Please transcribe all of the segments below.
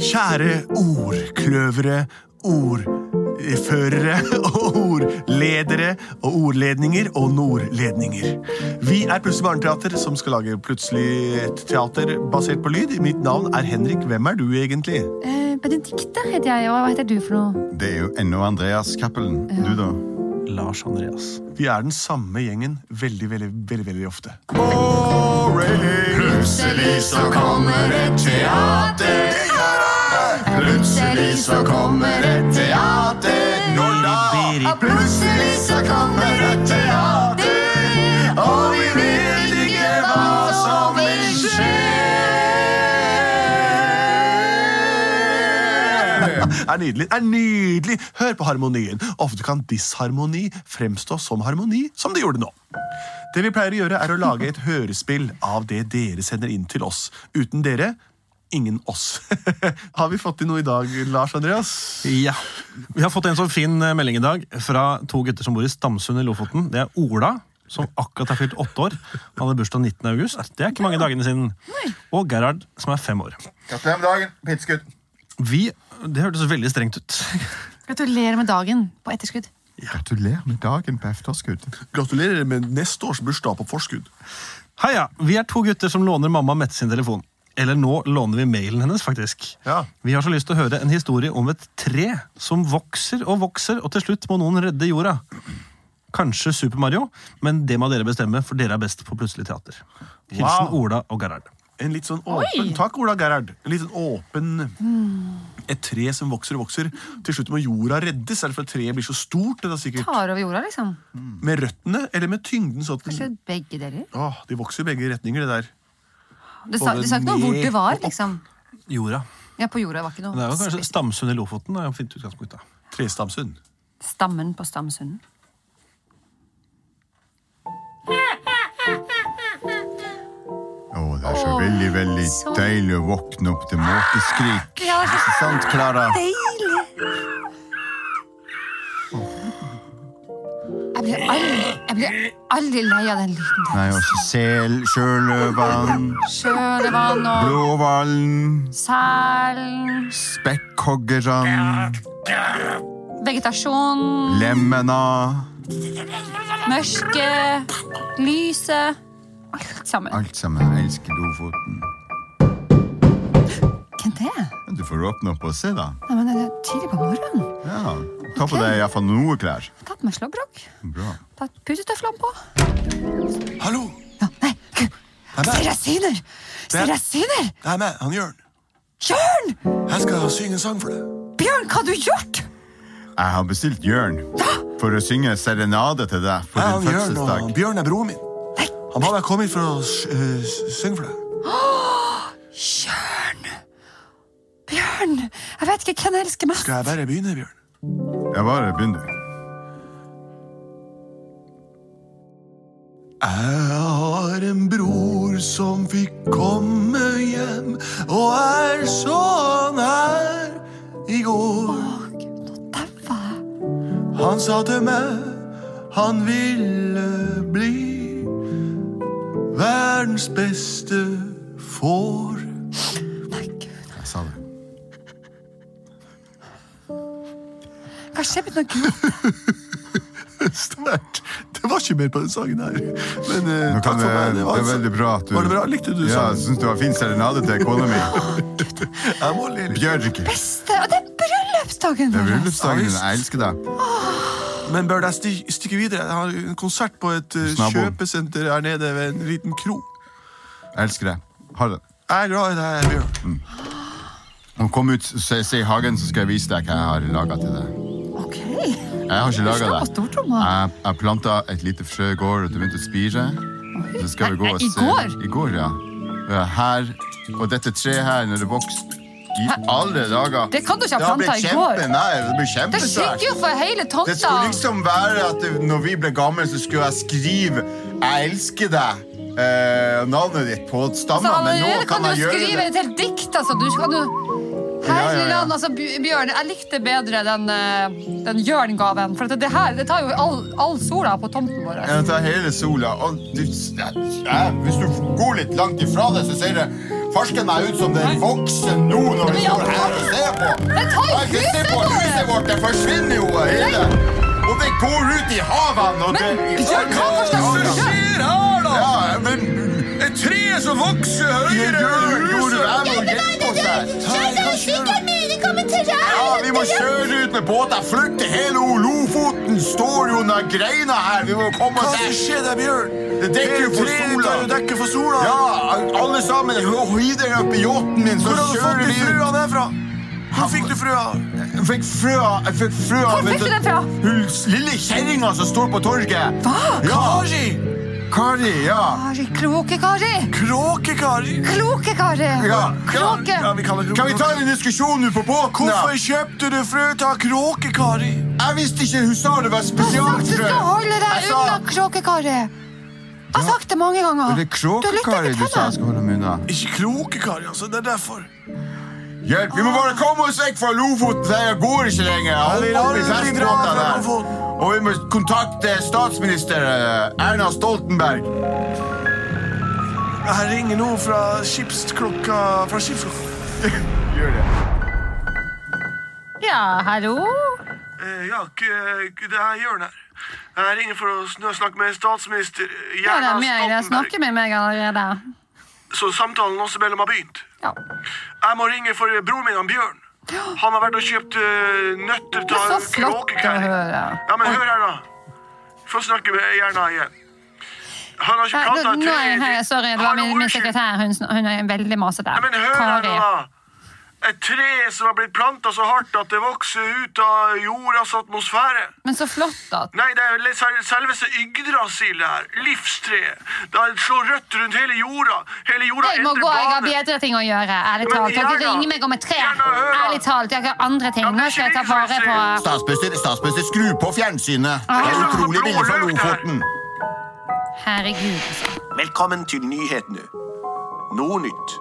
Kjære ordkløvere, ordførere og ordledere og ordledninger og nordledninger. Vi er Plutselig barneteater, som skal lage plutselig et teater basert på lyd. Mitt navn er Henrik. Hvem er du egentlig? Eh, Benedikte heter jeg, og hva heter du for noe? Det er jo ennå Andreas Cappelen. Du, da? Lars Andreas. Vi er den samme gjengen veldig, veldig, veldig, veldig ofte. Plutselig så kommer et teater. Plutselig så kommer et teater. Nå da! Plutselig så kommer et teater. Og vi vet ikke hva som vil skje. er nydelig. er nydelig. Hør på harmonien. Ofte kan disharmoni fremstå som harmoni, som det gjorde nå. Det vi pleier å gjøre, er å lage et hørespill av det dere sender inn til oss. Uten dere ingen oss. Har vi fått inn noe i dag, Lars Andreas? Ja. Vi har fått en sånn fin eh, melding i dag fra to gutter som bor i Stamsund i Lofoten. Det er Ola, som akkurat har fylt åtte år. Han hadde bursdag 19. august. Det er ikke mange dagene siden. Og Gerhard, som er fem år. Gratulerer med dagen, pinskutt. Vi, Det hørtes veldig strengt ut. Gratulerer med dagen på etterskudd. Gratulerer med dagen på efterskudd. Gratulerer med neste års bursdag på forskudd. Heia! Vi er to gutter som låner mamma Mette sin telefon. Eller nå låner vi mailen hennes, faktisk. Ja. Vi har så lyst til å høre en historie om et tre som vokser og vokser, og til slutt må noen redde jorda. Kanskje Super Mario, men det må dere bestemme, for dere er best på Plutselig teater. Hilsen Wow. Ola og Gerhard. En litt sånn åpen Oi! Takk, Ola Gerhard. En litt sånn åpen Et tre som vokser og vokser. Til slutt må jorda reddes. Er det fordi treet blir så stort? Det er sikkert. Tar over jorda, liksom. Med røttene eller med tyngden? Sånn at den- Kanskje begge deler. Åh, de vokser i begge retninger, det der. Du sa, du sa ikke noe om hvor du var, liksom. Jorda. Ja, på jorda var ikke Men det er jo noe kanskje Stamsund i Lofoten. Det er jo et fint utgangspunkt da. Trestamsund. Stammen på Stamsunden. Å, det er så veldig, veldig så- deilig å våkne opp til måkeskrik. Ja, det er Ikke sant, Klara? Jeg blir aldri, jeg blir aldri lei av den lyden der. Nei, også sel, sjøløveren, Sjølevann og blåhvalen, selen, spekkhoggeren, vegetasjon, lemmena mørket, lyset. Alt sammen. Alt sammen. Jeg elsker Lofoten. Hvem det er? Men Du får åpne opp og se, da. Nei, men det er tidlig på morgenen. Ja, Ta på deg iallfall noe klær. Jeg har Tatt meg slåbrok. Bra. Tatt putetøflene på. Hallo! Ja, nei, gud. Nei, nei. Sarasiner! Sarasiner! Det er meg, han Jørn. Jørn! Jeg skal synge en sang for deg. Bjørn, hva har du gjort? Jeg har bestilt Jørn for å synge serenade til deg på Jeg er din han Jørn, og fødselsdag. Bjørn er broren min. Han ba meg komme hit for å s- eh, s- synge for deg. Bjørn! Bjørn! Jeg vet ikke hvem jeg elsker mest. Skal jeg bare begynne, Bjørn? Jeg bare begynner. Jeg har en bror som fikk komme hjem, og er så han er i går. Å, Gud, nå daua jeg. Han sa til meg han ville bli verdens beste får. Nei, gud. Jeg sa det. Kanskje jeg begynner å gråte. Sterkt. Det var ikke mer på den sangen her. Men eh, Nå takk kan for meg. det, var, det er veldig bra at du Var det bra? Likte du Ja, jeg sangen? syns det var fin serenade til kona mi. Jeg må le litt. Bjørg. Beste, og det er bryllupsdagen Det er vår. bryllupsdagen din. Jeg elsker deg. Men bør jeg sti stikke videre? Jeg har en konsert på et eh, Naboen. kjøpesenter her nede ved en liten kro. Jeg elsker deg. Ha det. Jeg er glad i deg, Bjørn. Og kom ut se, se i hagen, så skal jeg vise deg hva jeg har laga til deg. Ok. Jeg har ikke laga Slapp av, det. stortromma. Jeg, jeg planta et lite frø i går, og det begynte å spire. Så skal vi gå Nei, og nei, i se. går? I går, ja. eh, her. Og dette treet her, når det vokser I alle dager Det kan du ikke ha har blitt plantet i kjempe- går. Nei, det blir Det kjempesvært. skygger jo for hele Det tomta. skulle liksom være at det, når vi ble gamle, så skulle jeg skrive 'Jeg elsker deg' eh, navnet ditt på Så stammen. Men nå allerede kan kan du jeg jo gjøre skrive det. et helt dikt, altså. Du skal du Ja, ja, Herlig ja. land, altså, Bj- Bjørn. Jeg likte bedre den, eh, den Jørn-gaven. For at det her det tar jo all, all sola på tomten vår. Jeg tar hele sola. Og du, jeg, jeg, hvis du går litt langt ifra det, så ser det farsken meg ut som den vokser nå når vi Men ja, står her og ser på. Men ta i Jeg kan se huset på vårt! huset vårt! Det forsvinner jo hele. Og det går ut i havene og Men, det Bjørn, hva for slags Ja, sola? skjer her, da? Ja, men Et tre som vokser Bjørn, høyere enn Bjørn, huset! jeg må hjelpe oss her. Ja, vi må kjøre ut med båt. Jeg flykter hele Lofoten. Står jo under greina her. Vi må komme Hva oss som her. skjer der, Bjørn? Det dekker jo for Treet sola. tar jo dekke for sola. Ja, alle sammen hiver dere opp i yachten min, så Hvor har du fått kjører de vi frøa ut. derfra? Hvor fikk du frøa? Jeg fikk frøa Jeg fikk frøa Hvor fikk vet du den fra? Hun s- lille kjerringa som står på torget. Hva? Ja, Kari! Kari, ja. Kari, kloke Kari! Kråke-Kari! Kloke Kari! ja. Kloke! Ja, vi kaller det Kan vi ta en diskusjon nå på båten? da? Hvorfor kjøpte du frø av Kråke-Kari? Jeg visste ikke hun sa det var Jeg har sagt du spesialfrø. skal holde Jeg deg sa- unna Kråke Kari. Jeg har sagt det mange ganger. Det er Du lytter kråkekari du ikke sa til jeg meg. skal holde meg unna. Ikke Kråke-Kari, altså. Det er derfor. Hjelp, vi må bare komme oss vekk fra Lofoten. Det her går ikke lenger. Jeg holder vi lar opp i oss ikke dra festbåten fra der. Lofoten. Og vi må kontakte statsminister eh, Erna Stoltenberg. Her ringer noen fra skipsklokka fra skipsklokka. Gjør det. Ja, hallo? Eh, ja, k- eh, det er Jørn her. Jeg ringer for å sn- snakke med statsminister eh, Ja, det Jerna er meg. Jeg Stoltenberg. snakker med meg allerede. Så samtalen oss imellom har begynt. Ja. Jeg må ringe for eh, broren min, han Bjørn. Han har vært og kjøpt eh, nøtter Det er til så flott å høre. Ja, men hør her, da. Få snakke med Jerna igjen. Han har ikke Ja, planta du- Nei, hei, sorry, det var min, min sekretær. Hun, sn- hun er veldig masete. Men hør her nå, da. Et tre som har blitt planta så hardt at det vokser ut av jordas atmosfære. Men så flott at Nei, det er vel sel- selveste Yggdrasil, det her. Livstreet. Det har- slår rødt rundt hele jorda. Hele jorda jeg må endrer gå, jeg har bane. bedre ting å gjøre. Ærlig Ja, men talt. Dere Jana- ringer meg om et tre. Jana, hør da. Ærlig talt, jeg har andre ting. Ja, men Nå skal jeg ta vare på Statsminister, statsminister, skru på fjernsynet. Det Ah. er utrolig billig fra Lofoten. Herregud, altså. Velkommen til nyhetene. Noe nytt.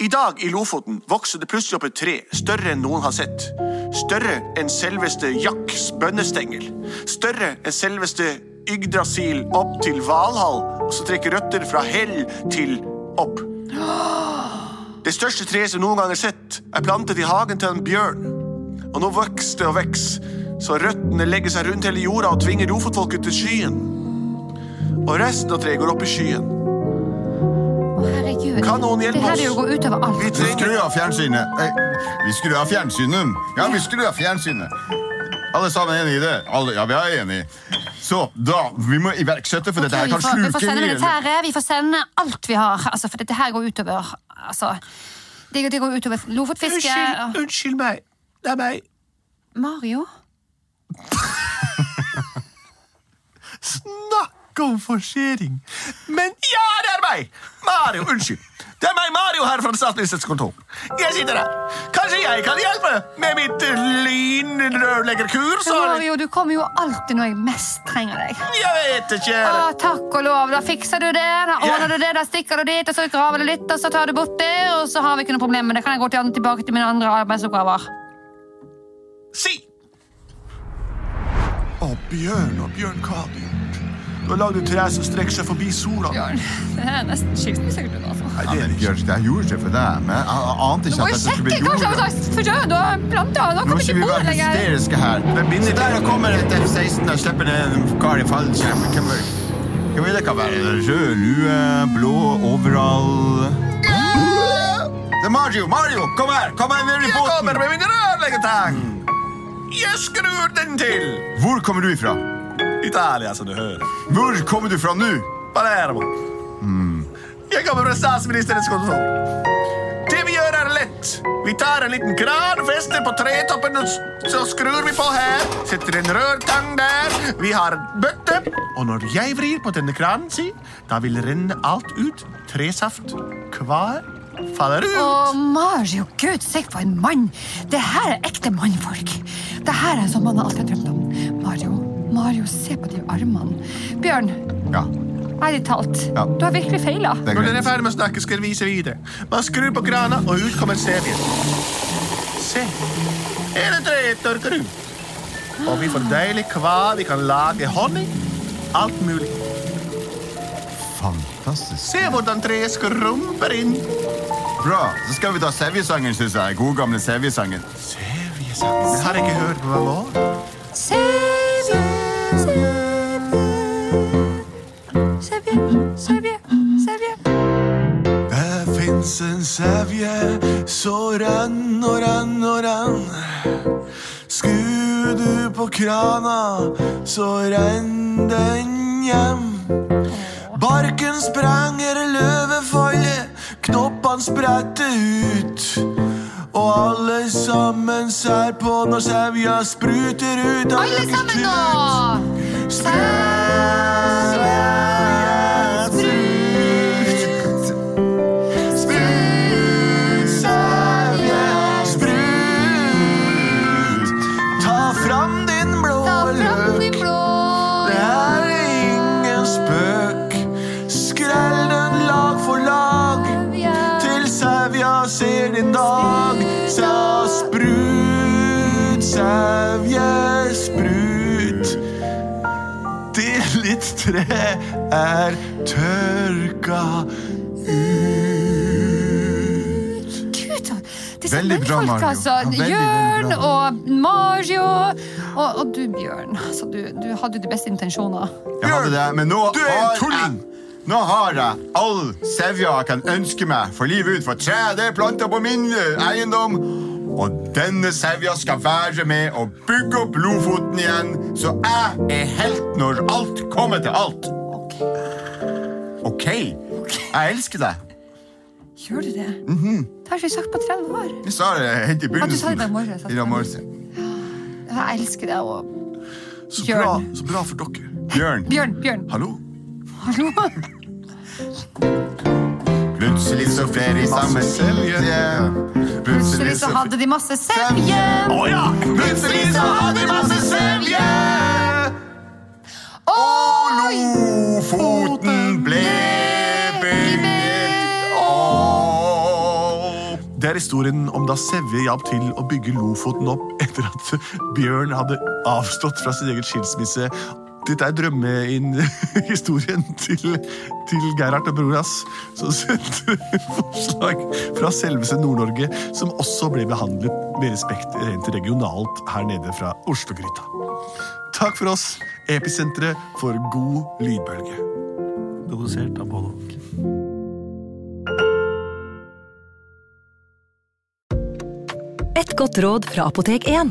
I dag i Lofoten vokser det plutselig opp et tre større enn noen har sett. Større enn selveste Jacks bønnestengel. Større enn selveste Yggdrasil opp til Valhall, og så trekker røtter fra hell til opp. Det største treet som noen gang er sett, er plantet i hagen til en bjørn. Og nå vokser det og vokser, så røttene legger seg rundt hele jorda og tvinger Lofotfolket til skyen. Og resten av treet går opp i skyen. Å, herregud. Kan noen hjelpe Det her vil jo oss? gå utover Vi alt. Vi trenger skrur av fjernsynet. Nei, vi skrur av fjernsynet. Ja, vi skrur av fjernsynet. Alle sammen er enig i det? Alle, ja, vi er enige. Så, da, vi må iverksette, for dette her vi, kan får, vi får sluke sende hele militæret, vi får sende alt vi har. Altså, for dette her går utover altså, det, det går utover lofotfiske og- unnskyld meg. Det er meg. Mario? Snakk om forsering. Men ja, det er meg! Mario, unnskyld. Det er meg, Mario, her fra Statsministerens kontor. Jeg sitter her. Kanskje jeg kan hjelpe med mitt eh, lynrørleggerkur? Men så har jeg- Mario, du kommer jo alltid når jeg mest trenger deg. Jeg vet ikke. Å, takk og lov. Da fikser du det, da ordner du det, da stikker du dit, og så graver du litt, og så tar du bort det, og så har vi ikke noe problem med det. Kan jeg gå til, tilbake til mine andre arbeidsoppgaver? Si! Å, Bjørn og Bjørn, hva har du gjort? Du har lagd et tre som strekker seg forbi sola. Bjørn, det her er nesten skilsmissegrunn, altså. Ja, men Bjørn, det her gjorde ikke for deg, men jeg, jeg ante Du ikke må jo at dette skulle bli sjekke hva jorda. slags frø du har planta. Nå Nå kommer skal ikke vi være bordet lenger. hysteriske her. Så der kommer et F-16 og slipper ned en kar i fallskjerm. Hvem er- Hvem vil det kan være? Rød lue, blå overall Det er Mario! Mario, kom her! Kom her ned i Jeg båten! kommer med min rørleggertang. Jeg skrur den til. Hvor kommer du ifra? Italia, som du hører. Hvor kommer du fra nå? Palermo. Mm. Jeg kommer fra statsministerens kontor. Det vi gjør, er lett. Vi tar en liten kran, fester på tretoppen, og s- så skrur vi på her. Setter en rørtang der. Vi har en bøtte. Og når jeg vrir på denne kranen, si, da vil renne alt ut. Tresaft hver faller ut. Å, Mario, gud, se for en mann! Det her er ekte mannfolk. Det her er en sånn man alltid har drømt om. Mario, Mario, se på de armene. Bjørn, Ja, ærlig talt, Ja. du har virkelig feila. det er Når dere er ferdig med å snakke, skal vi vise videre. Man skrur på krana, og ut kommer serien. Se. Hele treet tørker ut. Og vi får deilig hva vi kan lage honning. Alt mulig. Fantastisk. Se hvordan treet skrumper inn. Bra. Så skal vi ta Sevjesangen, syns jeg. God gamle Sevjesangen. Jeg har ikke hørt hva det var. Sevje, sevje, sevje, sevje, sevje. Det fins en sevje så rann og rann og rann. Skur du på krana, så renn den hjem. Barken sprenger løvefoldet, knoppene spretter ut. Og alle sammen ser på når sevja spruter ut. av Alle sammen nå! Ta fram din blå Ta fram løk. din blå Det er ingen spøk. Skrell den lag for lag til sevja ser din dag. Sa sprut, sevje, sprut. Til litt tre er tørka ut. Gud, disse Veldig bra, mannfolka, Mario. altså. Ja, veldig, veldig Jørn bra. og Mario. Og, og du, Bjørn. Altså, du, du hadde jo de beste intensjoner. Jeg hadde det, men nå Du er en har jeg tulling! nå har jeg all sevja jeg kan ønske meg, for livet ut for tre det er planta på min eh, eiendom. Og denne sevja skal være med å bygge opp Lofoten igjen, så jeg er helt når alt kommer til alt. Ok, OK? Jeg elsker deg. Gjør du det? Mhm. Det har ikke jeg sagt på 30 år. Jeg sa det helt i du sa det i dag morges, begynnelsen. altså. I dag morges. ja. Jeg elsker deg og Så bra, Bjørn. så bra for dere. Bjørn, Bjørn, Bjørn. Hallo? Hallo? plutselig så flere i samme selje. Plutselig så hadde de masse sevje. Å ja! Plutselig så hadde jeg masse sevje. Oi! Lofoten ble bygd opp. Det er historien om da Sevje hjalp til å bygge Lofoten opp etter at Bjørn hadde avstått fra sin egen skilsmisse. Dette er drømmehistorien til, til Gerhard og bror hans, som sendte forslag fra selveste Nord-Norge, som også ble behandlet med respekt rent regionalt her nede fra Oslo-gryta. Takk for oss, Episenteret for god lydbølge. Produsert av både og. Et godt råd fra Apotek 1.